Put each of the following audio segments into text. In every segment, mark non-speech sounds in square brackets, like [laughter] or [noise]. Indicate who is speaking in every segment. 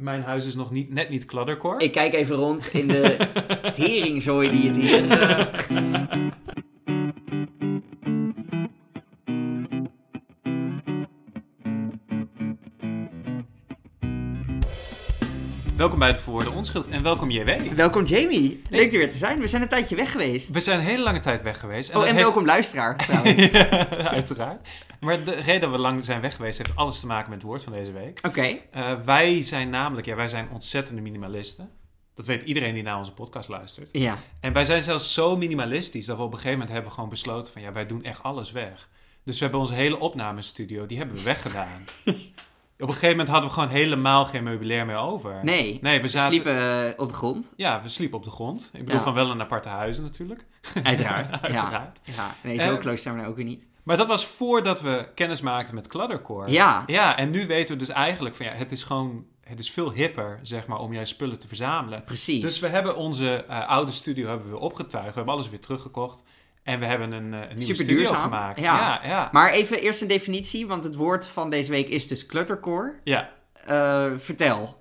Speaker 1: Mijn huis is nog niet, net niet kladderkor.
Speaker 2: Ik kijk even rond in
Speaker 1: [laughs]
Speaker 2: de teringzooi die het hier... eh,
Speaker 1: Welkom bij de Verwoorden Onschuld en welkom JW.
Speaker 2: Welkom Jamie. Leuk er weer te zijn. We zijn een tijdje weg geweest.
Speaker 1: We zijn een hele lange tijd weg geweest.
Speaker 2: Oh,
Speaker 1: dat
Speaker 2: en
Speaker 1: heeft-
Speaker 2: welkom luisteraar trouwens. Oké.
Speaker 1: [laughs] Ja, uiteraard. Maar de reden dat we lang zijn weg geweest heeft alles te maken met het woord van deze week. Eh, wij zijn namelijk, ja, wij zijn ontzettende minimalisten. Dat weet iedereen die naar onze podcast luistert.
Speaker 2: Ja.
Speaker 1: En wij zijn zelfs zo minimalistisch dat we op een gegeven moment hebben gewoon besloten van ja, wij doen echt alles weg. Dus we hebben onze hele opnamestudio, die hebben we
Speaker 2: [laughs]
Speaker 1: weggedaan. op een gegeven moment hadden we gewoon helemaal geen meubilair meer over.
Speaker 2: Nee.
Speaker 1: Nee, we
Speaker 2: We
Speaker 1: zaten...
Speaker 2: sliepen eh, op de grond.
Speaker 1: Ja, we sliepen op de grond. Ik bedoel
Speaker 2: Ja.
Speaker 1: van wel een aparte huizen natuurlijk.
Speaker 2: Uiteraard. Ja.
Speaker 1: [laughs] Uiteraard.
Speaker 2: ja. Nee, zo
Speaker 1: Eh,
Speaker 2: close zijn we nou ook weer niet.
Speaker 1: Maar dat was voordat we kennis maakten met Cluttercore.
Speaker 2: Ja.
Speaker 1: eh, Ja, en nu weten we dus eigenlijk van ja, het is gewoon, het is veel hipper, zeg maar, om jij spullen te verzamelen.
Speaker 2: Precies.
Speaker 1: Dus we hebben onze eh, oude studio hebben we weer opgetuigd. We hebben alles weer teruggekocht. En we hebben een, eh, een nieuwe
Speaker 2: Super
Speaker 1: studio
Speaker 2: duurzaam.
Speaker 1: gemaakt.
Speaker 2: Ja.
Speaker 1: ja. ja.
Speaker 2: Maar even eerst een definitie, want het woord van deze week is dus cluttercore.
Speaker 1: ja.
Speaker 2: Eh, vertel.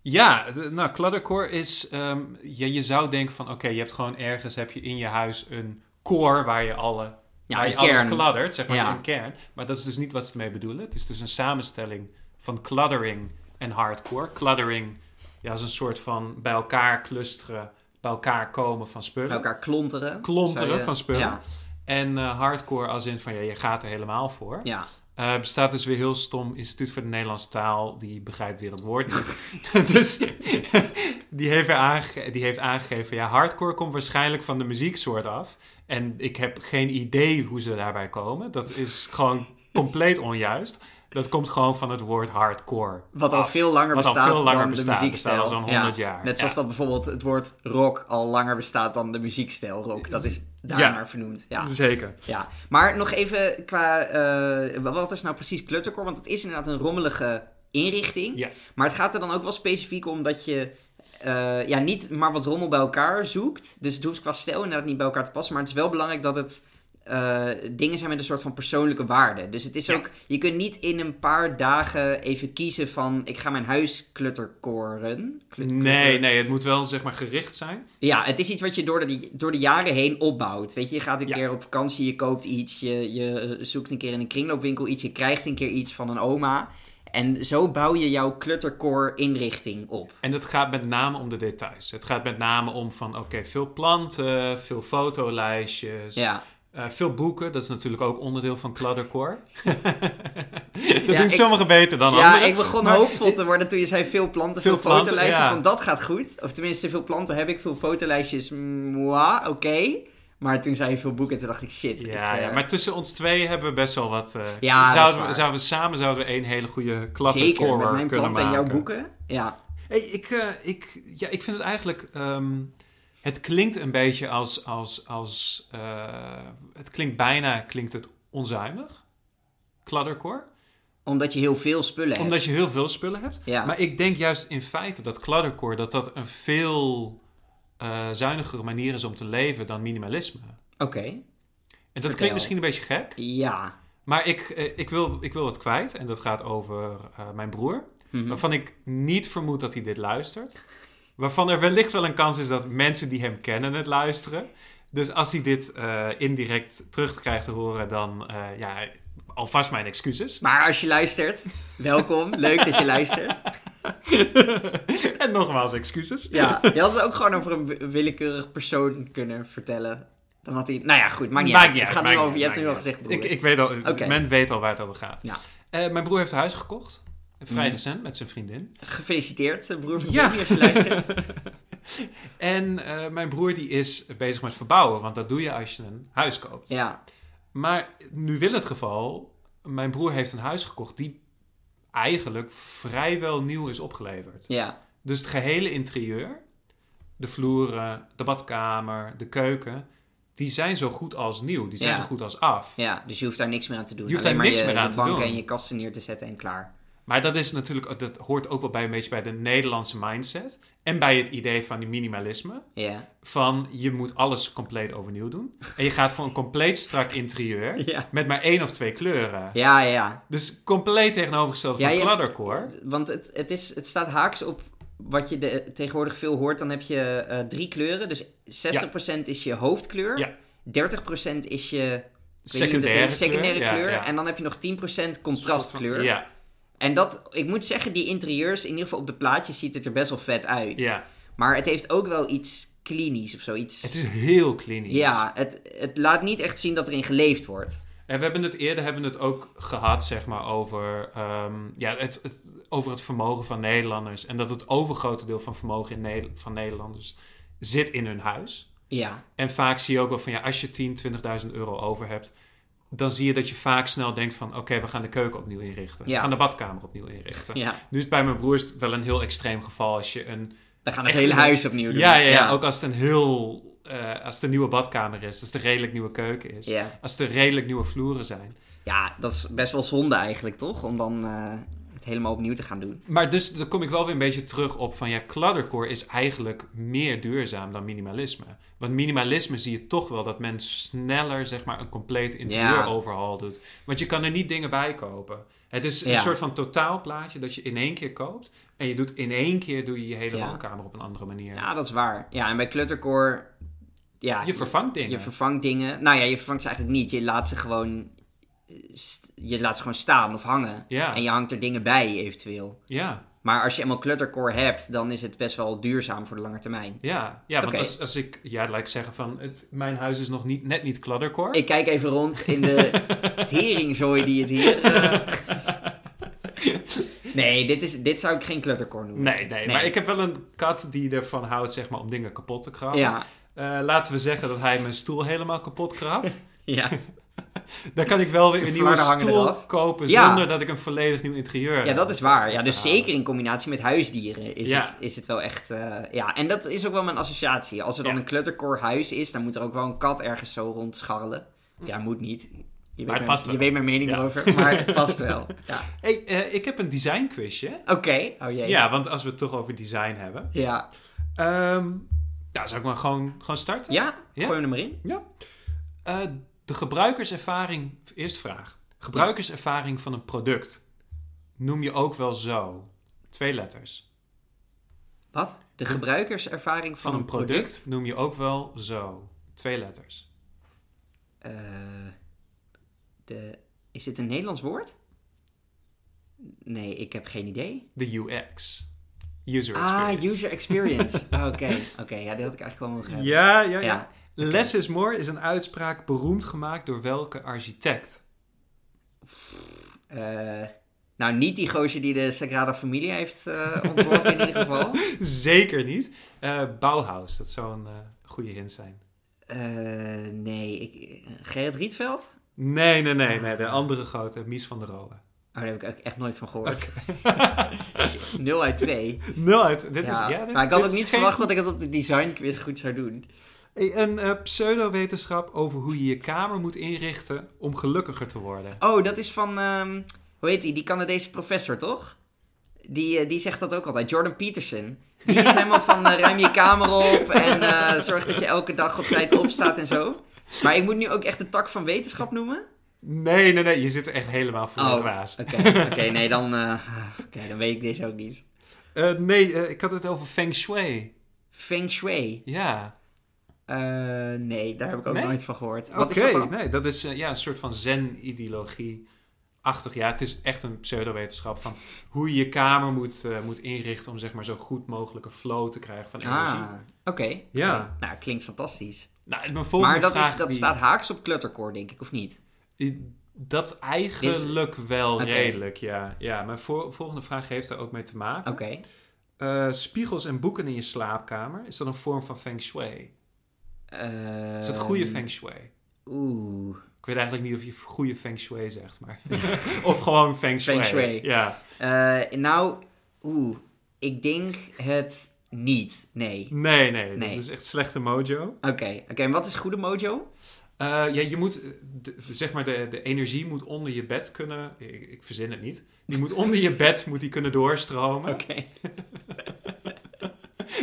Speaker 1: Ja, de- nou, cluttercore is... ehm, je, je zou denken van, oké, je hebt gewoon ergens heb je in je huis een core waar je, alle,
Speaker 2: Ja,
Speaker 1: waar
Speaker 2: een
Speaker 1: je alles
Speaker 2: kern.
Speaker 1: kladdert, zeg maar
Speaker 2: Ja.
Speaker 1: een kern. Maar dat is dus niet wat ze ermee bedoelen. Het is dus een samenstelling van cluttering en hardcore. Cluttering ja, is een soort van bij elkaar clusteren, bij elkaar komen van spullen.
Speaker 2: Bij elkaar klonteren.
Speaker 1: Klonteren
Speaker 2: Zou je-
Speaker 1: van spullen.
Speaker 2: Ja.
Speaker 1: En eh, hardcore als in van, ja, je gaat er helemaal voor.
Speaker 2: ja.
Speaker 1: Eh, bestaat dus weer heel stom Instituut voor de Nederlandse Taal. Die begrijpt weer het woord niet. [laughs] dus die heeft, er aange- die heeft aangegeven... Ja, hardcore komt waarschijnlijk van de muzieksoort af. En ik heb geen idee hoe ze daarbij komen. Dat is gewoon compleet onjuist. Dat komt gewoon van het woord hardcore.
Speaker 2: Wat al
Speaker 1: af.
Speaker 2: veel langer
Speaker 1: Wat al
Speaker 2: bestaat
Speaker 1: veel langer
Speaker 2: dan
Speaker 1: bestaat.
Speaker 2: de muziekstijl.
Speaker 1: Bestaat al zo'n
Speaker 2: Ja.
Speaker 1: 100 jaar.
Speaker 2: Net zoals
Speaker 1: Ja.
Speaker 2: dat bijvoorbeeld het woord rock al langer bestaat dan de muziekstijl rock. Dat is daarnaar vernoemd. Ja.
Speaker 1: Zeker.
Speaker 2: ja. Maar nog even qua... eh, wat is nou precies cluttercore? Want het is inderdaad een rommelige inrichting.
Speaker 1: Ja.
Speaker 2: Maar het gaat er dan ook wel specifiek om dat je... eh, ja, niet maar wat rommel bij elkaar zoekt. Dus het hoeft qua stijl inderdaad niet bij elkaar te passen. Maar het is wel belangrijk dat het... eh, dingen zijn met een soort van persoonlijke waarde. Dus het is
Speaker 1: Ja.
Speaker 2: ook... Je kunt niet in een paar dagen even kiezen van... Ik ga mijn huis cluttercoren. Clu-
Speaker 1: Nee, nee, het moet wel zeg maar gericht zijn.
Speaker 2: ja, het is iets wat je door de, door de jaren heen opbouwt. Weet je, je gaat een
Speaker 1: Ja.
Speaker 2: keer op vakantie, je koopt iets, je, je eh, zoekt een keer in een kringloopwinkel iets, je krijgt een keer iets van een oma. En zo bouw je jouw cluttercore inrichting op.
Speaker 1: En het gaat met name om de details. Het gaat met name om van... Oké, veel planten, veel fotolijstjes...
Speaker 2: Ja,
Speaker 1: Eh, veel boeken, dat is natuurlijk ook onderdeel van [laughs] Cluttercore. dat doen
Speaker 2: Ja, ik-
Speaker 1: sommigen beter dan
Speaker 2: ja
Speaker 1: anderen.
Speaker 2: ik begon
Speaker 1: Maar-
Speaker 2: hoopvol te worden toen je zei veel planten, veel,
Speaker 1: Veel planten,
Speaker 2: fotolijstjes,
Speaker 1: ja.
Speaker 2: want dat gaat goed. Of tenminste, veel planten heb ik, veel fotolijstjes, moi, oké. Maar toen zei je veel boeken, toen dacht ik, shit. ik,
Speaker 1: Ja, ja,
Speaker 2: eh,
Speaker 1: maar tussen ons twee hebben we best wel wat... eh,
Speaker 2: Ja, dat is
Speaker 1: zouden,
Speaker 2: waar.
Speaker 1: we, zouden we samen zouden we één hele goede
Speaker 2: Zeker, met
Speaker 1: Cluttercore kunnen
Speaker 2: mijn planten
Speaker 1: maken.
Speaker 2: en jouw boeken. Ja,
Speaker 1: Hey, ik, eh, ik, ja, ik vind het eigenlijk... ehm, het klinkt een beetje als... als, als eh, het klinkt bijna klinkt het onzuinig. Cluttercore.
Speaker 2: omdat je heel veel spullen hebt.
Speaker 1: Omdat je heel veel spullen hebt.
Speaker 2: Ja.
Speaker 1: Maar ik denk juist in feite dat cluttercore dat dat een veel eh, zuinigere manier is om te leven dan minimalisme.
Speaker 2: Oké,
Speaker 1: En dat
Speaker 2: Vertel.
Speaker 1: klinkt misschien een beetje gek,
Speaker 2: ja.
Speaker 1: maar ik, eh, ik, wil, ik wil wat kwijt. En dat gaat over eh, mijn broer,
Speaker 2: Mhm.
Speaker 1: waarvan ik niet vermoed dat hij dit luistert. Waarvan er wellicht wel een kans is dat mensen die hem kennen het luisteren. Dus als hij dit eh, indirect terugkrijgt te horen, dan eh, ja, alvast mijn excuses. [laughs]
Speaker 2: Maar als je luistert, welkom. [laughs] Leuk dat je luistert.
Speaker 1: en nogmaals excuses.
Speaker 2: Ja, je had het ook gewoon over een wi- willekeurig persoon kunnen vertellen. Dan had hij... Nou ja, goed, maakt niet uit. het gaat nu
Speaker 1: maakt
Speaker 2: over...
Speaker 1: niet
Speaker 2: Je hebt nu al
Speaker 1: uit,
Speaker 2: gezegd,
Speaker 1: maakt
Speaker 2: broer.
Speaker 1: niet uit. Ik, ik weet al,
Speaker 2: Oké.
Speaker 1: men weet al waar het over gaat.
Speaker 2: Ja. Mhm.
Speaker 1: Eh, mijn broer heeft een huis gekocht. Vrij recent, met zijn vriendin.
Speaker 2: Gefeliciteerd, eh, broer.
Speaker 1: Ja.
Speaker 2: Ja. Als je luistert.
Speaker 1: En eh, mijn broer die is bezig met verbouwen, want dat doe je als je een huis koopt.
Speaker 2: Ja,
Speaker 1: Maar nu wil het geval, mijn broer heeft een huis gekocht die eigenlijk vrijwel nieuw is opgeleverd.
Speaker 2: ja.
Speaker 1: Dus het gehele interieur, de vloeren, de badkamer, de keuken, die zijn zo goed als nieuw. Die zijn
Speaker 2: Ja.
Speaker 1: zo goed als af.
Speaker 2: Ja, dus je hoeft daar niks meer aan te doen.
Speaker 1: Je hoeft
Speaker 2: Alleen
Speaker 1: daar
Speaker 2: maar
Speaker 1: niks
Speaker 2: je,
Speaker 1: meer aan
Speaker 2: je
Speaker 1: te
Speaker 2: banken
Speaker 1: doen.
Speaker 2: en je kasten neer te zetten en klaar.
Speaker 1: Maar dat is natuurlijk, dat hoort ook wel bij een beetje bij de Nederlandse mindset. En bij het idee van die minimalisme. [laughs]
Speaker 2: Ja.
Speaker 1: Van je moet alles compleet overnieuw doen. En je gaat voor een compleet strak interieur.
Speaker 2: Ja.
Speaker 1: Met maar één of twee kleuren.
Speaker 2: Ja, ja, ja.
Speaker 1: Dus compleet tegenovergesteld van
Speaker 2: Ja, je hebt-
Speaker 1: kladdercore.
Speaker 2: Want het, het, is, het staat haaks op wat je de, tegenwoordig veel hoort. Dan heb je eh, drie kleuren. Dus 60% is je hoofdkleur.
Speaker 1: Ja.
Speaker 2: 30% is je ik weet niet hoe dat
Speaker 1: secundaire,
Speaker 2: heet, secundaire kleur.
Speaker 1: ja, ja.
Speaker 2: En dan heb je nog 10% contrastkleur.
Speaker 1: Ja,
Speaker 2: En dat, ik moet zeggen, die interieurs, in ieder geval op de plaatjes, ziet het er best wel vet uit.
Speaker 1: ja.
Speaker 2: Maar het heeft ook wel iets klinisch of zoiets.
Speaker 1: Het is heel klinisch.
Speaker 2: Ja, het, het laat niet echt zien dat erin geleefd wordt.
Speaker 1: En we hebben het eerder hebben we het ook gehad, zeg maar, over, ehm, ja, het, het, over het vermogen van Nederlanders. En dat het overgrote deel van vermogen in Ne- van Nederlanders zit in hun huis.
Speaker 2: Ja,
Speaker 1: En vaak zie je ook wel van, ja, als je 10, 20.000 euro over hebt, dan zie je dat je vaak snel denkt van, oké, we gaan de keuken opnieuw inrichten.
Speaker 2: Ja.
Speaker 1: We gaan de badkamer opnieuw inrichten.
Speaker 2: ja.
Speaker 1: Nu is het bij mijn broers wel een heel extreem geval als je een
Speaker 2: We gaan het
Speaker 1: Echt
Speaker 2: hele
Speaker 1: een-
Speaker 2: huis opnieuw doen.
Speaker 1: Ja, ja, ja, ook als het een heel. eh, als het een nieuwe badkamer is, als het een redelijk nieuwe keuken is,
Speaker 2: Ja.
Speaker 1: als er redelijk nieuwe vloeren zijn.
Speaker 2: Ja, dat is best wel zonde eigenlijk, toch? Om dan eh, het helemaal opnieuw te gaan doen.
Speaker 1: Maar dus dan kom ik wel weer een beetje terug op van ja, kladdercore is eigenlijk meer duurzaam dan minimalisme. Want minimalisme zie je toch wel dat men sneller zeg maar een compleet interieur
Speaker 2: Ja.
Speaker 1: overhaul doet. Want je kan er niet dingen bij kopen. Het is
Speaker 2: Ja.
Speaker 1: een soort van totaalplaatje dat je in één keer koopt en je doet in één keer doe je je hele
Speaker 2: Ja.
Speaker 1: woonkamer op een andere manier.
Speaker 2: Ja, dat is waar. Ja, en bij Cluttercore... Ja,
Speaker 1: je vervangt dingen.
Speaker 2: je vervangt dingen. Nou ja, je vervangt ze eigenlijk niet. Je laat ze gewoon, eh, st- je laat ze gewoon staan of hangen.
Speaker 1: Ja.
Speaker 2: En je hangt er dingen bij eventueel.
Speaker 1: ja.
Speaker 2: Maar als je eenmaal Cluttercore hebt, dan is het best wel duurzaam voor de lange termijn.
Speaker 1: Ja, ja want
Speaker 2: Oké.
Speaker 1: als, als ik, ja, laat ik zeggen van, het, mijn huis is nog niet, net niet kladdercore.
Speaker 2: Ik kijk even rond in de
Speaker 1: [laughs]
Speaker 2: teringzooi die het hier... eh. Nee, dit, is, dit zou ik geen Cluttercore noemen.
Speaker 1: Nee, nee, maar ik heb wel een kat die ervan houdt, zeg maar, om dingen kapot te krabben.
Speaker 2: Ja,
Speaker 1: Eh, laten we zeggen dat hij mijn stoel helemaal kapot krabt.
Speaker 2: ja.
Speaker 1: [laughs] Dan kan ik wel weer
Speaker 2: De
Speaker 1: een nieuwe
Speaker 2: flarden hangen
Speaker 1: stoel
Speaker 2: eraf.
Speaker 1: kopen
Speaker 2: Ja.
Speaker 1: zonder dat ik een volledig nieuw interieur
Speaker 2: ja, dat is waar. Ja, dus
Speaker 1: te halen.
Speaker 2: zeker in combinatie met huisdieren is,
Speaker 1: Ja.
Speaker 2: het, is het wel echt... eh, ja, en dat is ook wel mijn associatie. Als er dan
Speaker 1: Ja.
Speaker 2: een Cluttercore huis is, dan moet er ook wel een kat ergens zo rondscharrelen. Of Ja, moet niet. Je, weet,
Speaker 1: het
Speaker 2: mijn,
Speaker 1: past
Speaker 2: je
Speaker 1: wel.
Speaker 2: weet mijn mening
Speaker 1: Ja.
Speaker 2: erover, maar
Speaker 1: [laughs]
Speaker 2: het past wel. Ja.
Speaker 1: hey, eh, ik heb een design quizje.
Speaker 2: Oké, oh jee.
Speaker 1: Ja, want als we het toch over design hebben.
Speaker 2: Ja.
Speaker 1: Ehm nou, zou ik maar gewoon, gewoon starten?
Speaker 2: Ja?
Speaker 1: Ja.
Speaker 2: Gooi hem er maar in.
Speaker 1: Eh, de gebruikerservaring, eerst vraag. Gebruikerservaring van een product noem je ook wel zo. Twee letters.
Speaker 2: Wat? De gebruikerservaring van,
Speaker 1: Van een product noem je ook wel zo. Twee letters.
Speaker 2: Eh, de, is dit een Nederlands woord? Nee, ik heb geen idee.
Speaker 1: De UX. User
Speaker 2: Ah,
Speaker 1: experience.
Speaker 2: user
Speaker 1: [laughs]
Speaker 2: experience. Ah, Oké, oké. ja, die had ik eigenlijk wel mogen hebben.
Speaker 1: Ja, ja, ja.
Speaker 2: Ja.
Speaker 1: Less is more is een uitspraak beroemd gemaakt door welke architect?
Speaker 2: Eh, nou, niet die gozer die de Sagrada Familia heeft eh, ontworpen in
Speaker 1: [laughs]
Speaker 2: ieder geval.
Speaker 1: [laughs] Zeker niet. Eh, Bauhaus, dat zou een eh, goede hint zijn.
Speaker 2: Eh, nee, ik, Gerrit Rietveld?
Speaker 1: Nee, nee, nee, nee. De andere grote, Mies van der [laughs] Rohe.
Speaker 2: Oh, daar heb ik ook echt nooit van gehoord. 0 uit 2.
Speaker 1: Nul uit. [laughs] Dit
Speaker 2: ja,
Speaker 1: is, ja, dit,
Speaker 2: maar ik had
Speaker 1: dit
Speaker 2: ook
Speaker 1: is
Speaker 2: niet
Speaker 1: geen
Speaker 2: verwacht dat ik het op de design quiz goed zou doen.
Speaker 1: Hey, Een eh, pseudowetenschap over hoe je je kamer moet inrichten om gelukkiger te worden.
Speaker 2: Oh, dat is van, ehm, hoe heet die, die Canadese professor, toch? Die, eh, die zegt dat ook altijd, Jordan Peterson. Die [laughs] is helemaal van, eh, ruim je kamer op en eh, zorg dat je elke dag op tijd opstaat en zo. Maar ik moet nu ook echt de tak van wetenschap noemen?
Speaker 1: Nee, nee, nee, je zit er echt helemaal voor
Speaker 2: Oh.
Speaker 1: de raast.
Speaker 2: [laughs] Oké, oké, nee, dan, eh, oké, dan weet ik deze ook niet.
Speaker 1: Eh, nee, eh, ik had het over feng shui.
Speaker 2: Feng Shui?
Speaker 1: Ja,
Speaker 2: Eh, nee, daar heb ik ook
Speaker 1: Nee?
Speaker 2: nooit van gehoord.
Speaker 1: oké.
Speaker 2: Oh, Wat is dat dan?
Speaker 1: nee, dat is eh, ja, een soort van zen-ideologie-achtig. Ja, het is echt een pseudowetenschap van hoe je je kamer moet, eh, moet inrichten om zeg maar zo goed mogelijke flow te krijgen van energie.
Speaker 2: Ah, oké.
Speaker 1: Ja.
Speaker 2: Oké. Nou, klinkt fantastisch.
Speaker 1: Nou, en mijn volgende
Speaker 2: maar dat,
Speaker 1: vraag
Speaker 2: is, dat
Speaker 1: die-
Speaker 2: staat haaks op Cluttercore, denk ik, of niet?
Speaker 1: Dat eigenlijk wel
Speaker 2: Oké.
Speaker 1: redelijk, ja. ja. Mijn voor- volgende vraag heeft daar ook mee te maken.
Speaker 2: Oké.
Speaker 1: Eh, spiegels en boeken in je slaapkamer, is dat een vorm van feng shui? Is dat goede
Speaker 2: Ehm,
Speaker 1: feng shui?
Speaker 2: Oeh.
Speaker 1: Ik weet eigenlijk niet of je goede feng shui zegt, maar... [laughs] of gewoon feng shui.
Speaker 2: Feng shui.
Speaker 1: Ja.
Speaker 2: Eh, nou, oeh. Ik denk het niet. Nee.
Speaker 1: Nee, nee,
Speaker 2: Nee.
Speaker 1: Dat is echt slechte mojo.
Speaker 2: Oké, oké. en wat is goede mojo?
Speaker 1: Eh, Eh, ja, je moet, eh, de- de- zeg maar, de, de energie moet onder je bed kunnen. Ik, ik verzin het niet. Die moet onder je bed moet die kunnen doorstromen.
Speaker 2: Oké.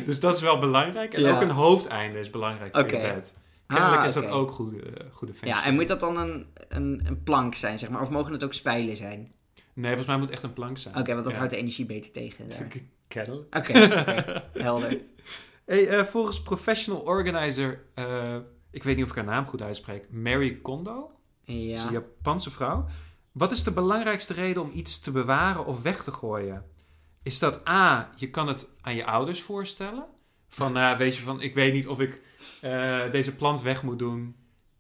Speaker 1: Dus dat is wel belangrijk. En
Speaker 2: Ja.
Speaker 1: ook een hoofdeinde is belangrijk voor
Speaker 2: Oké.
Speaker 1: je bed. Kennelijk
Speaker 2: Ah,
Speaker 1: is dat
Speaker 2: oké.
Speaker 1: ook goede, eh, goede feng
Speaker 2: Ja,
Speaker 1: shui.
Speaker 2: en moet dat dan een, een, een plank zijn, zeg maar? Of mogen het ook spijlen zijn?
Speaker 1: Nee, volgens mij moet het echt een plank zijn.
Speaker 2: Oké, want dat
Speaker 1: Ja. [laughs]
Speaker 2: houdt de energie beter tegen. daar.
Speaker 1: K- Kennelijk.
Speaker 2: Oké,
Speaker 1: [laughs]
Speaker 2: oké, helder.
Speaker 1: Hey, eh, volgens professional organizer, eh, ik weet niet of ik haar naam goed uitspreek, Mary Kondo, is een
Speaker 2: Ja.
Speaker 1: Japanse vrouw. Wat is de belangrijkste reden om iets te bewaren of weg te gooien? Is dat A, je kan het aan je ouders voorstellen?
Speaker 2: [laughs]
Speaker 1: Van, eh, weet je, van, ik weet niet of ik eh, deze plant weg moet doen.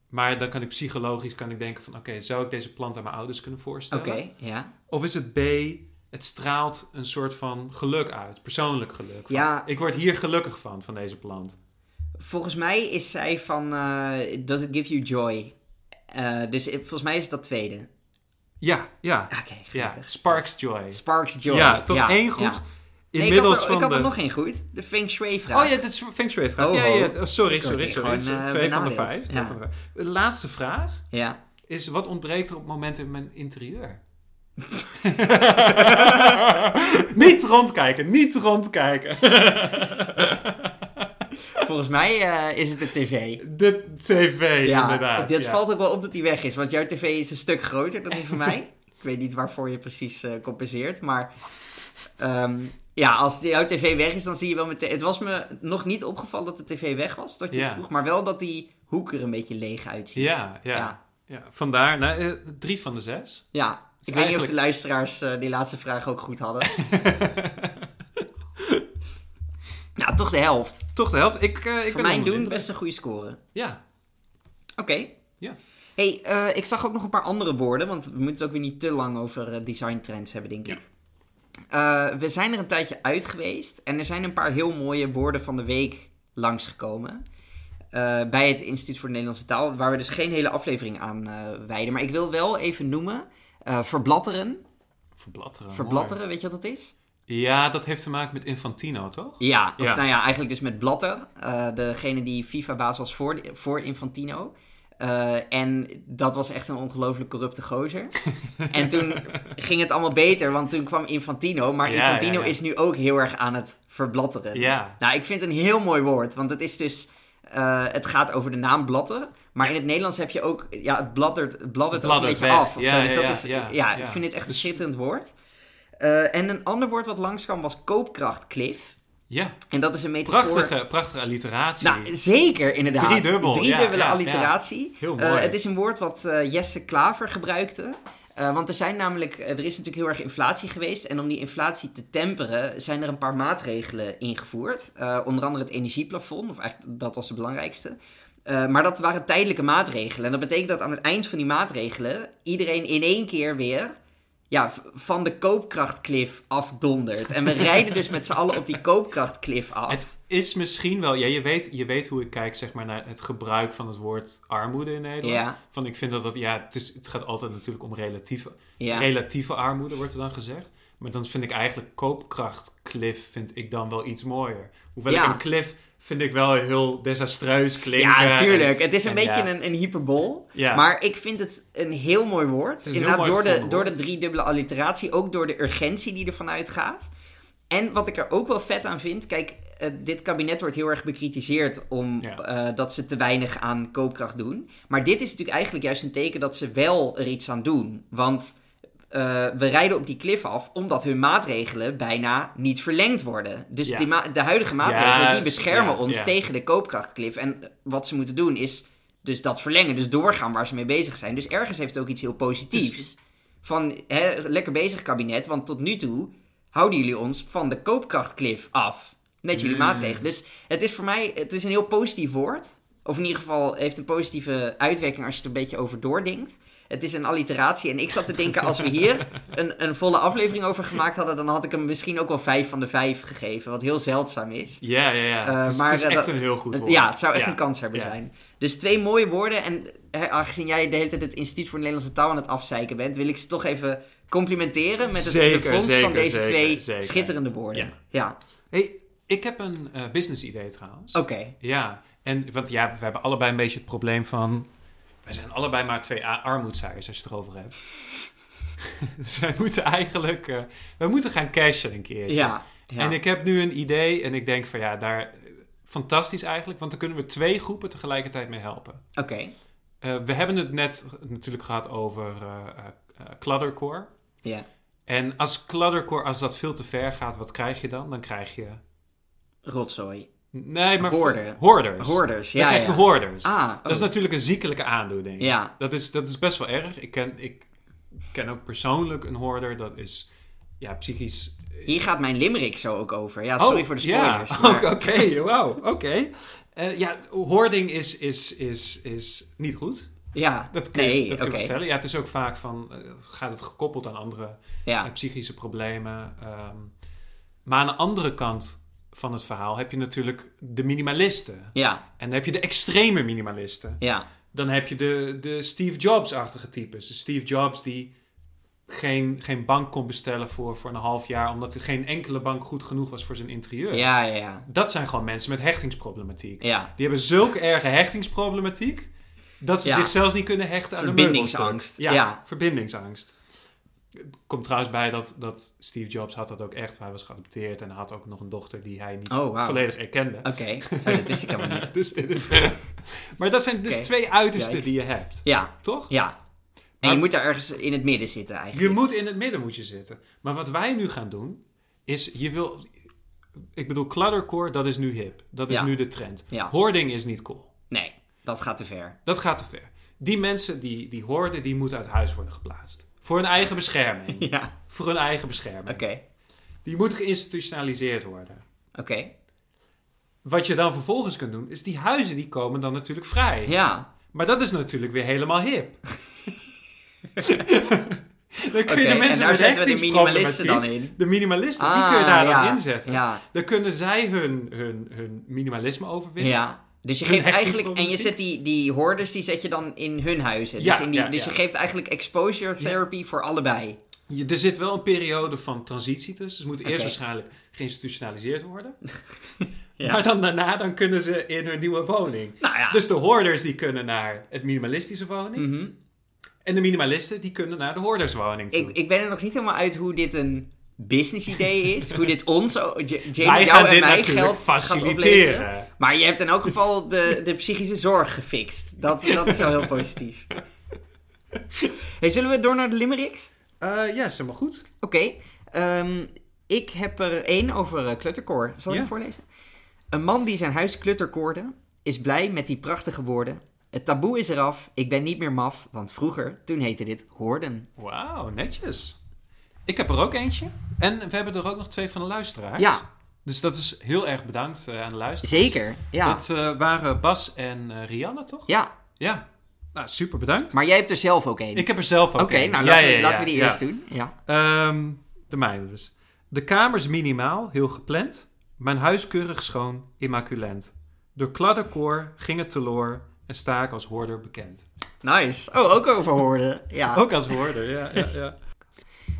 Speaker 1: Maar dan kan ik psychologisch kan ik denken van, oké, zou ik deze plant aan mijn ouders kunnen voorstellen?
Speaker 2: Oké, ja.
Speaker 1: Of is het B, het straalt een soort van geluk uit, persoonlijk geluk. Van,
Speaker 2: Ja.
Speaker 1: Ik word hier gelukkig van, van deze plant.
Speaker 2: Volgens mij is zij van eh, Does it give you joy? Eh, dus eh, volgens mij is dat tweede.
Speaker 1: Ja, ja,
Speaker 2: Oké,
Speaker 1: ja.
Speaker 2: gelukkig.
Speaker 1: Sparks Joy.
Speaker 2: Sparks joy.
Speaker 1: Ja, toch
Speaker 2: één
Speaker 1: één goed.
Speaker 2: Nee,
Speaker 1: Inmiddels
Speaker 2: ik had, er,
Speaker 1: van
Speaker 2: ik had
Speaker 1: de...
Speaker 2: er nog één goed. De Feng Shui vraag.
Speaker 1: Oh ja, dit is Feng Shui vraag.
Speaker 2: Ho,
Speaker 1: ja,
Speaker 2: ho.
Speaker 1: ja, oh, sorry, sorry,
Speaker 2: hier
Speaker 1: sorry.
Speaker 2: gewoon, eh,
Speaker 1: twee van de
Speaker 2: benadeeld.
Speaker 1: vijf. twee
Speaker 2: Ja.
Speaker 1: van de vijf. De laatste vraag
Speaker 2: Ja.
Speaker 1: is, wat ontbreekt er op het moment in mijn
Speaker 2: [laughs]
Speaker 1: interieur? niet rondkijken, niet rondkijken.
Speaker 2: Volgens mij eh, is het de tv.
Speaker 1: De tv, inderdaad.
Speaker 2: dit
Speaker 1: ja.
Speaker 2: valt ook wel op dat die weg is, want jouw tv is een stuk groter dan die van
Speaker 1: [laughs]
Speaker 2: mij. Ik weet niet waarvoor je precies eh, compenseert, maar ehm, ja, als die- jouw tv weg is, dan zie je wel meteen. Het was me nog niet opgevallen dat de tv weg was, dat je het
Speaker 1: Ja.
Speaker 2: vroeg, maar wel dat die hoek er een beetje leeg uitziet.
Speaker 1: Ja, ja. ja.
Speaker 2: ja.
Speaker 1: vandaar. Nou, eh, drie van de zes.
Speaker 2: Ja.
Speaker 1: Het is
Speaker 2: Ik weet niet of
Speaker 1: eigenlijk-
Speaker 2: de luisteraars eh, die laatste vraag ook goed hadden.
Speaker 1: [laughs]
Speaker 2: nou, toch de helft.
Speaker 1: Toch de helft. Ik, eh, ik
Speaker 2: Voor
Speaker 1: ben
Speaker 2: mijn
Speaker 1: onder de
Speaker 2: doen
Speaker 1: indruk.
Speaker 2: best een goede score.
Speaker 1: Ja.
Speaker 2: Oké.
Speaker 1: Ja.
Speaker 2: hey, eh, ik zag ook nog een paar andere woorden, want we moeten het ook weer niet te lang over eh, design trends hebben, denk
Speaker 1: Ja.
Speaker 2: ik. Eh, we zijn er een tijdje uit geweest en er zijn een paar heel mooie woorden van de week langsgekomen. eh, bij het Instituut voor de Nederlandse Taal, waar we dus geen hele aflevering aan eh wijden. Maar ik wil wel even noemen, eh,
Speaker 1: Ah,
Speaker 2: verblatteren.
Speaker 1: Verblatteren.
Speaker 2: Verblatteren, weet je wat dat is?
Speaker 1: mooi. Ja, dat heeft te maken met Infantino, toch?
Speaker 2: Ja, of
Speaker 1: Ja.
Speaker 2: nou ja, eigenlijk dus met Blatter. eh, degene die FIFA-baas was voor, voor Infantino. Eh, en dat was echt een ongelooflijk corrupte gozer.
Speaker 1: [laughs]
Speaker 2: en toen ging het allemaal beter, want toen kwam Infantino. Maar
Speaker 1: Ja,
Speaker 2: Infantino
Speaker 1: ja, ja.
Speaker 2: is nu ook heel erg aan het verblatteren.
Speaker 1: Ja.
Speaker 2: Nou, ik vind het een heel mooi woord, want het is dus... eh, het gaat over de naam Blatter. Maar in het Nederlands heb je ook... Ja, het bladdert, het bladdert ook een
Speaker 1: Bladdert
Speaker 2: beetje
Speaker 1: weg.
Speaker 2: af. Of
Speaker 1: Ja,
Speaker 2: zo. Dus
Speaker 1: ja,
Speaker 2: dat
Speaker 1: ja,
Speaker 2: is, ja,
Speaker 1: ja,
Speaker 2: ik
Speaker 1: ja.
Speaker 2: vind dit echt een
Speaker 1: Dus-
Speaker 2: schitterend woord. Eh, en een ander woord wat langskwam was koopkrachtklif.
Speaker 1: Ja.
Speaker 2: En dat is een metafoor...
Speaker 1: Prachtige, prachtige alliteratie.
Speaker 2: Nou, zeker inderdaad.
Speaker 1: Driedubbel, ja,
Speaker 2: Driedubbele
Speaker 1: ja,
Speaker 2: alliteratie.
Speaker 1: Heel
Speaker 2: Eh,
Speaker 1: mooi.
Speaker 2: het is een woord wat eh, Jesse Klaver gebruikte. Eh, want er, zijn namelijk, eh, er is natuurlijk heel erg inflatie geweest. En om die inflatie te temperen zijn er een paar maatregelen ingevoerd. Eh, onder andere het energieplafond, of eigenlijk dat was de belangrijkste. Eh, maar dat waren tijdelijke maatregelen. En dat betekent dat aan het eind van die maatregelen iedereen in één keer weer ja, v- van de koopkrachtklif afdondert.
Speaker 1: [laughs]
Speaker 2: En we rijden dus met z'n allen op die koopkrachtklif af.
Speaker 1: Het is misschien wel... Ja, je weet, je weet hoe ik kijk zeg maar, naar het gebruik van het woord armoede in Nederland.
Speaker 2: Ja.
Speaker 1: Van, ik vind dat dat... Ja, het, is, het gaat altijd natuurlijk om relatieve,
Speaker 2: Ja.
Speaker 1: relatieve armoede, wordt er dan gezegd. Maar dan vind ik eigenlijk koopkrachtklif vind ik dan wel iets mooier. Hoewel
Speaker 2: Ja.
Speaker 1: ik een cliff vind ik wel heel desastreus klinken.
Speaker 2: Ja,
Speaker 1: En-
Speaker 2: natuurlijk. Het is een
Speaker 1: en
Speaker 2: beetje
Speaker 1: ja.
Speaker 2: een, een hyperbol.
Speaker 1: Ja.
Speaker 2: Maar ik vind het een heel mooi woord.
Speaker 1: is een heel
Speaker 2: Inderdaad,
Speaker 1: mooi
Speaker 2: door, de,
Speaker 1: gevonden
Speaker 2: door de
Speaker 1: woord.
Speaker 2: driedubbele alliteratie. Ook door de urgentie die ervan uitgaat. En wat ik er ook wel vet aan vind. Kijk, eh, dit kabinet wordt heel erg bekritiseerd om
Speaker 1: Ja.
Speaker 2: eh, dat ze te weinig aan koopkracht doen. Maar dit is natuurlijk eigenlijk juist een teken dat ze wel er iets aan doen. Want eh, we rijden op die klif af omdat hun maatregelen bijna niet verlengd worden. Dus
Speaker 1: Ja.
Speaker 2: die ma- de huidige maatregelen
Speaker 1: Ja,
Speaker 2: die beschermen
Speaker 1: ja,
Speaker 2: ons
Speaker 1: ja.
Speaker 2: tegen de koopkrachtklif. En wat ze moeten doen is dus dat verlengen, dus doorgaan waar ze mee bezig zijn. Dus ergens heeft het ook iets heel positiefs.
Speaker 1: Dus-
Speaker 2: Van hè, lekker bezig kabinet, want tot nu toe houden jullie ons van de koopkrachtklif af. Met jullie maatregelen. Dus het is voor mij het is een heel positief woord. Of in ieder geval heeft een positieve uitwerking als je er een beetje over doordenkt. Het is een alliteratie. En ik zat te denken, als we hier een, een volle aflevering over gemaakt hadden, dan had ik hem misschien ook wel vijf van de vijf gegeven. Wat heel zeldzaam is.
Speaker 1: Ja, ja, ja.
Speaker 2: Eh,
Speaker 1: het is,
Speaker 2: maar,
Speaker 1: het is
Speaker 2: eh,
Speaker 1: echt
Speaker 2: dat-
Speaker 1: een heel goed
Speaker 2: Het-
Speaker 1: woord.
Speaker 2: ja, het zou echt
Speaker 1: Ja.
Speaker 2: een kans hebben
Speaker 1: ja.
Speaker 2: zijn. Dus twee mooie woorden. En hè, aangezien jij de hele tijd het Instituut voor de Nederlandse Taal aan het afzeiken bent, wil ik ze toch even complimenteren met het
Speaker 1: Zeker,
Speaker 2: de vondst van
Speaker 1: zeker,
Speaker 2: deze
Speaker 1: zeker,
Speaker 2: twee
Speaker 1: zeker.
Speaker 2: schitterende woorden. Ja,
Speaker 1: Ja. Hey, ik heb een eh business idee trouwens.
Speaker 2: oké.
Speaker 1: Ja, en, want ja, we hebben allebei een beetje het probleem van... We zijn allebei maar twee a- armoedzaaiers als je het erover hebt. [laughs] dus wij moeten eigenlijk... eh, we moeten gaan cashen een keertje.
Speaker 2: Ja. ja.
Speaker 1: En ik heb nu een idee en ik denk van ja, daar... Fantastisch eigenlijk, want dan kunnen we twee groepen tegelijkertijd mee helpen.
Speaker 2: Oké.
Speaker 1: Eh, we hebben het net natuurlijk gehad over eh eh, eh, kladdercore.
Speaker 2: Ja.
Speaker 1: En als kladdercore, als dat veel te ver gaat, wat krijg je dan? Dan krijg je...
Speaker 2: Rotzooi.
Speaker 1: Nee, maar...
Speaker 2: Hoorden.
Speaker 1: Hoorders.
Speaker 2: Hoorders.
Speaker 1: Dan
Speaker 2: Ja,
Speaker 1: krijg je
Speaker 2: ja.
Speaker 1: hoorders.
Speaker 2: Ah. oh.
Speaker 1: Dat is natuurlijk een ziekelijke aandoening.
Speaker 2: Ja.
Speaker 1: Dat is, dat is best wel erg. Ik ken, ik ken ook persoonlijk een hoorder. Dat is ja, psychisch...
Speaker 2: Hier gaat mijn limerick zo ook over. Ja, Oh, sorry voor de
Speaker 1: Oh, ja.
Speaker 2: spoilers. maar-
Speaker 1: [laughs] Oké, oké, wauw. Oké. Eh, ja, hoording is, is, is, is niet goed.
Speaker 2: Ja.
Speaker 1: Dat kun je,
Speaker 2: nee,
Speaker 1: dat kun je
Speaker 2: oké.
Speaker 1: stellen. Ja, het is ook vaak van... eh, gaat het gekoppeld aan andere eh,
Speaker 2: Ja.
Speaker 1: psychische problemen? ehm. maar aan de andere kant van het verhaal heb je natuurlijk de minimalisten.
Speaker 2: Ja.
Speaker 1: En dan heb je de extreme minimalisten.
Speaker 2: Ja.
Speaker 1: Dan heb je de, de Steve Jobs-achtige types. De Steve Jobs die geen, geen bank kon bestellen voor, voor een half jaar... omdat er geen enkele bank goed genoeg was voor zijn interieur.
Speaker 2: Ja, ja, ja.
Speaker 1: Dat zijn gewoon mensen met hechtingsproblematiek.
Speaker 2: Ja.
Speaker 1: Die hebben zulke erge hechtingsproblematiek... dat ze
Speaker 2: Ja.
Speaker 1: zich zelfs niet kunnen hechten aan de
Speaker 2: Verbindingsangst,
Speaker 1: meubelstok.
Speaker 2: ja.
Speaker 1: verbindingsangst. Komt trouwens bij dat, dat Steve Jobs had dat ook echt. Hij was geadopteerd en hij had ook nog een dochter die hij niet
Speaker 2: Oh, wauw.
Speaker 1: volledig erkende.
Speaker 2: Oké. Oh, dat wist ik helemaal
Speaker 1: [laughs]
Speaker 2: niet.
Speaker 1: Dus dit is... [laughs] maar dat zijn dus
Speaker 2: Oké.
Speaker 1: twee uitersten
Speaker 2: Yikes.
Speaker 1: die je hebt,
Speaker 2: Ja.
Speaker 1: toch?
Speaker 2: Ja. En
Speaker 1: Maar-
Speaker 2: je moet daar ergens in het midden zitten eigenlijk.
Speaker 1: Je moet in het midden moet je zitten. Maar wat wij nu gaan doen, is je wil... Ik bedoel, cluttercore, dat is nu hip. Dat is
Speaker 2: Ja.
Speaker 1: nu de trend.
Speaker 2: Ja.
Speaker 1: Hoarding is niet cool.
Speaker 2: Nee, dat gaat te
Speaker 1: [laughs]
Speaker 2: ver.
Speaker 1: Dat gaat te ver. Die mensen die, die hoorden, die moeten uit huis worden geplaatst. Voor hun eigen bescherming.
Speaker 2: [laughs] Ja.
Speaker 1: Voor hun eigen bescherming.
Speaker 2: Oké.
Speaker 1: Die moet geïnstitutionaliseerd worden.
Speaker 2: Oké.
Speaker 1: Wat je dan vervolgens kunt doen, is die huizen die komen dan natuurlijk vrij.
Speaker 2: Ja.
Speaker 1: Maar dat is natuurlijk weer helemaal
Speaker 2: [laughs]
Speaker 1: hip. dan kun
Speaker 2: Oké.
Speaker 1: je de
Speaker 2: En
Speaker 1: mensen
Speaker 2: daar
Speaker 1: met
Speaker 2: zetten we de minimalisten dan
Speaker 1: hechtingsproblematiek-
Speaker 2: in.
Speaker 1: De minimalisten, die
Speaker 2: Ah,
Speaker 1: kun je daar
Speaker 2: ja.
Speaker 1: dan inzetten.
Speaker 2: Ja.
Speaker 1: Dan kunnen zij hun, hun, hun minimalisme overwinnen.
Speaker 2: Ja. Dus je
Speaker 1: Hun
Speaker 2: geeft eigenlijk... En je
Speaker 1: hechtingsproblematiek.
Speaker 2: zet die, die hoorders, die zet je dan in hun huizen.
Speaker 1: Ja,
Speaker 2: dus in die,
Speaker 1: ja,
Speaker 2: dus
Speaker 1: ja.
Speaker 2: je geeft eigenlijk exposure therapy voor allebei.
Speaker 1: Je- er zit wel een periode van transitie tussen. Ze moeten eerst
Speaker 2: Oké.
Speaker 1: waarschijnlijk geïnstitutionaliseerd
Speaker 2: [laughs]
Speaker 1: worden.
Speaker 2: Ja.
Speaker 1: Maar dan daarna dan kunnen ze in hun nieuwe woning.
Speaker 2: Nou ja.
Speaker 1: Dus de hoorders die kunnen naar het minimalistische woning.
Speaker 2: Mhm.
Speaker 1: En de minimalisten die kunnen naar de hoorderswoning toe.
Speaker 2: ik, ik ben er nog niet helemaal uit hoe dit een business idee is. hoe dit ons, oh, J- Jamie,
Speaker 1: Wij
Speaker 2: jou
Speaker 1: gaan
Speaker 2: en
Speaker 1: dit
Speaker 2: mij
Speaker 1: natuurlijk
Speaker 2: geld gaat opleveren.
Speaker 1: faciliteren.
Speaker 2: Maar je hebt in elk geval de, de psychische zorg gefixt. Dat, dat is wel heel
Speaker 1: [laughs]
Speaker 2: positief. Hey, zullen we door naar de limericks?
Speaker 1: Eh, ja, is helemaal goed.
Speaker 2: Oké. ehm, ik heb er één over eh, klutterkoor. Zal ik
Speaker 1: Ja.
Speaker 2: hem voorlezen? Een man die zijn huis klutterkoorde is blij met die prachtige woorden. Het taboe is eraf, ik ben niet meer maf, want vroeger, toen heette dit hoorden.
Speaker 1: Wauw, netjes. Ik heb er ook eentje. En we hebben er ook nog twee van de luisteraars.
Speaker 2: Ja,
Speaker 1: Dus dat is heel erg bedankt eh, aan de luisteraars.
Speaker 2: zeker. Ja.
Speaker 1: Dat eh, waren Bas en eh, Rianne, toch?
Speaker 2: ja,
Speaker 1: Ja. Nou, super bedankt.
Speaker 2: maar jij hebt er zelf ook één.
Speaker 1: Ik heb er zelf ook
Speaker 2: Oké,
Speaker 1: een.
Speaker 2: nou
Speaker 1: Ja,
Speaker 2: laten,
Speaker 1: ja,
Speaker 2: we,
Speaker 1: ja,
Speaker 2: laten we die
Speaker 1: ja.
Speaker 2: eerst doen. Ja.
Speaker 1: Ehm, de mijne dus. De kamers minimaal, heel gepland. Mijn huis keurig schoon, immaculent. Door kladderkoor ging het teloor en sta ik als hoorder bekend.
Speaker 2: Nice. Oh, ook over hoorden. Ja.
Speaker 1: Ook als hoorder, ja. ja, ja.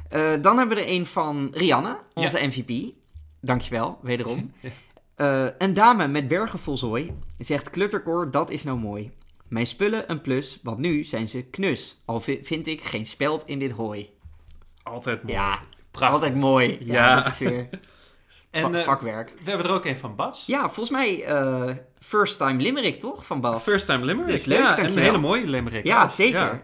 Speaker 2: Eh, dan hebben we er een van Rianne, onze MVP. Dankjewel,
Speaker 1: [laughs]
Speaker 2: wederom. Eh, een dame met bergen vol zooi zegt klutterkoor, dat is nou mooi. Mijn spullen een plus, want nu zijn ze knus. Al vi- vind ik geen speld in dit hooi.
Speaker 1: Altijd mooi.
Speaker 2: Ja,
Speaker 1: Prachtig.
Speaker 2: altijd mooi. Ja,
Speaker 1: Ja.
Speaker 2: dat
Speaker 1: [laughs]
Speaker 2: is weer
Speaker 1: En,
Speaker 2: va-
Speaker 1: eh,
Speaker 2: vakwerk.
Speaker 1: We hebben er ook een van Bas.
Speaker 2: Ja, volgens mij eh, first time limerick toch, van Bas?
Speaker 1: First time limerick.
Speaker 2: Dus leuk,
Speaker 1: ja, en een
Speaker 2: dankjewel.
Speaker 1: hele mooie limerick.
Speaker 2: ja,
Speaker 1: ook.
Speaker 2: zeker.
Speaker 1: Ja.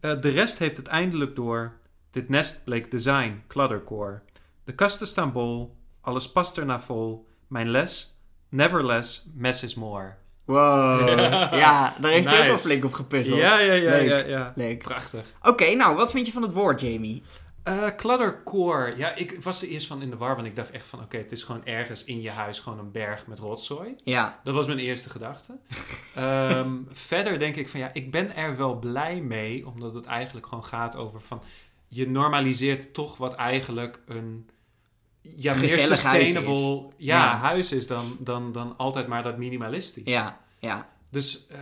Speaker 1: Eh, de rest heeft het eindelijk door. Dit nest bleek design, kladdercore. De kasten staan bol, alles past erna vol. Mijn les, never less, mess is more. [laughs]
Speaker 2: Wow.
Speaker 1: Ja.
Speaker 2: Ja, daar heeft hij ook wel
Speaker 1: Nice.
Speaker 2: flink op gepuzzeld.
Speaker 1: Ja, ja, ja,
Speaker 2: Leuk.
Speaker 1: ja, ja.
Speaker 2: Leuk.
Speaker 1: Prachtig.
Speaker 2: Oké, nou, wat vind je van het woord, Jamie?
Speaker 1: Eh cluttercore. Ja, ik was er eerst van in de war, want ik dacht echt van... Oké, het is gewoon ergens in je huis gewoon een berg met rotzooi.
Speaker 2: Ja,
Speaker 1: Dat was mijn eerste
Speaker 2: [laughs]
Speaker 1: gedachte. Ehm, verder denk ik van ja, ik ben er wel blij mee, omdat het eigenlijk gewoon gaat over van je normaliseert toch wat eigenlijk een ja, meer
Speaker 2: Gezellig huis is.
Speaker 1: sustainable huis ja,
Speaker 2: Ja.
Speaker 1: huis is dan, dan, dan altijd maar dat minimalistisch.
Speaker 2: ja, ja,
Speaker 1: Dus eh,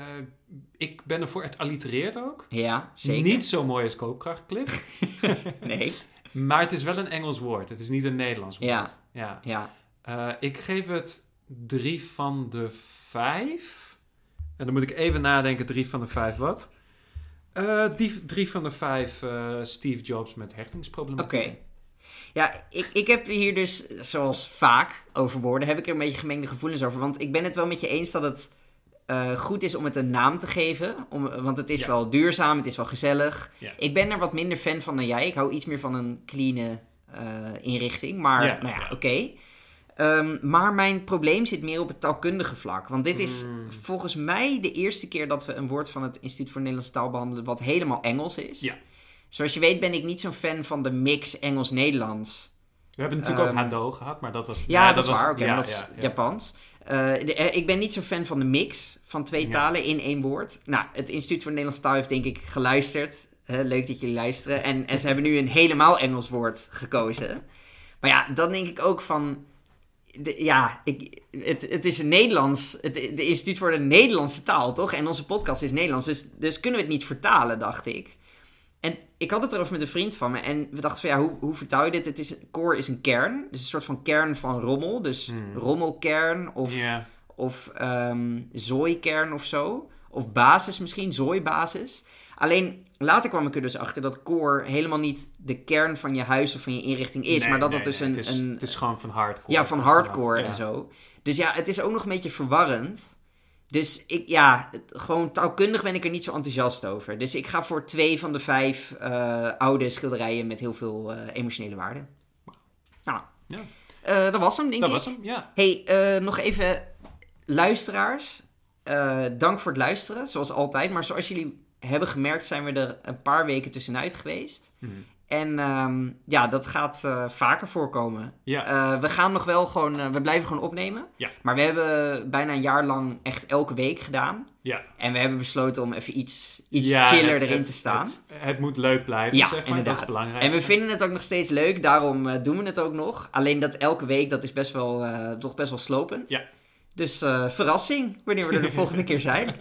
Speaker 1: ik ben ervoor. Het allitereert ook.
Speaker 2: ja, zeker.
Speaker 1: Niet zo mooi als koopkrachtclip,
Speaker 2: [laughs] Nee,
Speaker 1: maar het is wel een Engels woord. Het is niet een Nederlands woord.
Speaker 2: Ja.
Speaker 1: ja.
Speaker 2: ja.
Speaker 1: Eh, ik geef het drie van de vijf. En dan moet ik even nadenken, drie van de vijf wat? Eh, die drie van de vijf eh, Steve Jobs met hechtingsproblematiek.
Speaker 2: Oké. Ja, ik, ik heb hier dus, zoals vaak over woorden, heb ik er een beetje gemengde gevoelens over. Want ik ben het wel met je eens dat het eh, goed is om het een naam te geven. Om, want het is
Speaker 1: Ja.
Speaker 2: wel duurzaam, het is wel gezellig.
Speaker 1: Ja.
Speaker 2: Ik ben er wat minder fan van dan jij. Ik hou iets meer van een clean eh, inrichting. Maar
Speaker 1: Ja,
Speaker 2: nou ja,
Speaker 1: ja.
Speaker 2: oké. Ehm, maar mijn probleem zit meer op het taalkundige vlak. Want dit is
Speaker 1: Mm.
Speaker 2: volgens mij de eerste keer dat we een woord van het Instituut voor Nederlandse Taal behandelen wat helemaal Engels is.
Speaker 1: Ja.
Speaker 2: Zoals je weet ben ik niet zo'n fan van de mix Engels-Nederlands.
Speaker 1: We hebben natuurlijk
Speaker 2: Ehm,
Speaker 1: ook Hando gehad, maar dat was...
Speaker 2: Ja,
Speaker 1: nee,
Speaker 2: dat, is
Speaker 1: was,
Speaker 2: waar. Oké, maar dat is
Speaker 1: ja.
Speaker 2: Japans. Eh, de- eh, ik ben niet zo'n fan van de mix van twee
Speaker 1: Ja.
Speaker 2: talen in één woord. Nou, het Instituut voor Nederlandse Taal heeft denk ik geluisterd. Hè, leuk dat jullie luisteren. En, en ze hebben nu een helemaal Engels woord
Speaker 1: [laughs]
Speaker 2: gekozen. Maar ja, dan denk ik ook van... de- ja, ik, het, het is een Nederlands... Het de Instituut voor de Nederlandse Taal, toch? En onze podcast is Nederlands. Dus, dus kunnen we het niet vertalen, dacht ik. En ik had het erover met een vriend van me. En we dachten van ja, hoe, hoe vertaal je dit? Het is, core is een kern. Dus een soort van kern van rommel. Dus
Speaker 1: Hmm.
Speaker 2: rommelkern of,
Speaker 1: Ja.
Speaker 2: of ehm zooikern of zo. Of basis misschien, zooibasis. Alleen later kwam ik er dus achter dat core helemaal niet de kern van je huis of van je inrichting is.
Speaker 1: Nee,
Speaker 2: maar dat
Speaker 1: nee,
Speaker 2: dat dus
Speaker 1: nee,
Speaker 2: een,
Speaker 1: het is,
Speaker 2: een,
Speaker 1: het is gewoon van hardcore.
Speaker 2: ja, van hardcore
Speaker 1: Ja.
Speaker 2: en zo. Dus ja, het is ook nog een beetje verwarrend. Dus ik, ja, het- gewoon taalkundig ben ik er niet zo enthousiast over. Dus ik ga voor twee van de vijf eh, oude schilderijen met heel veel eh, emotionele waarde. Nou,
Speaker 1: Ja.
Speaker 2: eh, dat was hem, denk
Speaker 1: Dat
Speaker 2: ik.
Speaker 1: was hem, ja.
Speaker 2: Hey, eh, nog even luisteraars. Eh, dank voor het luisteren, zoals altijd. Maar zoals jullie hebben gemerkt, zijn we er een paar weken tussenuit geweest.
Speaker 1: Mhm.
Speaker 2: En ehm, ja, dat gaat eh, vaker voorkomen.
Speaker 1: Ja.
Speaker 2: Eh, we gaan nog wel gewoon, eh, we blijven gewoon opnemen.
Speaker 1: Ja.
Speaker 2: Maar we hebben bijna een jaar lang echt elke week gedaan.
Speaker 1: ja.
Speaker 2: En we hebben besloten om even iets, iets
Speaker 1: Ja,
Speaker 2: chiller
Speaker 1: het-
Speaker 2: erin
Speaker 1: het-
Speaker 2: te staan.
Speaker 1: Het, het moet leuk blijven,
Speaker 2: Ja,
Speaker 1: zeg maar.
Speaker 2: inderdaad.
Speaker 1: Dat is belangrijk.
Speaker 2: en we vinden het ook nog steeds leuk, daarom eh, doen we het ook nog. Alleen dat elke week, dat is best wel, eh, toch best wel slopend.
Speaker 1: Ja.
Speaker 2: Dus eh, verrassing,
Speaker 1: [laughs]
Speaker 2: wanneer we er de volgende keer zijn.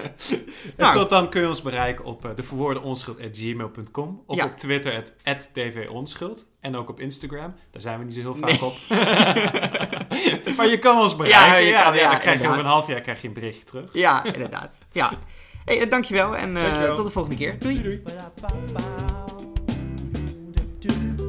Speaker 1: En
Speaker 2: Nou.
Speaker 1: tot dan kun je ons bereiken op eh, deverwoordeonschuld.gmail.com of
Speaker 2: Ja.
Speaker 1: op Twitter at dvonschuld en ook op Instagram. Daar zijn we niet zo heel
Speaker 2: Nee.
Speaker 1: vaak op. maar je kan ons bereiken. Ja,
Speaker 2: je kan, ja,
Speaker 1: dan krijg je
Speaker 2: inderdaad.
Speaker 1: over een half jaar krijg je een berichtje terug.
Speaker 2: ja, inderdaad. Ja. Hey, eh, dankjewel en eh,
Speaker 1: Dankjewel.
Speaker 2: tot de volgende keer. Doei.
Speaker 1: doei.
Speaker 3: Ba-da-ba-ba. Doop-doop.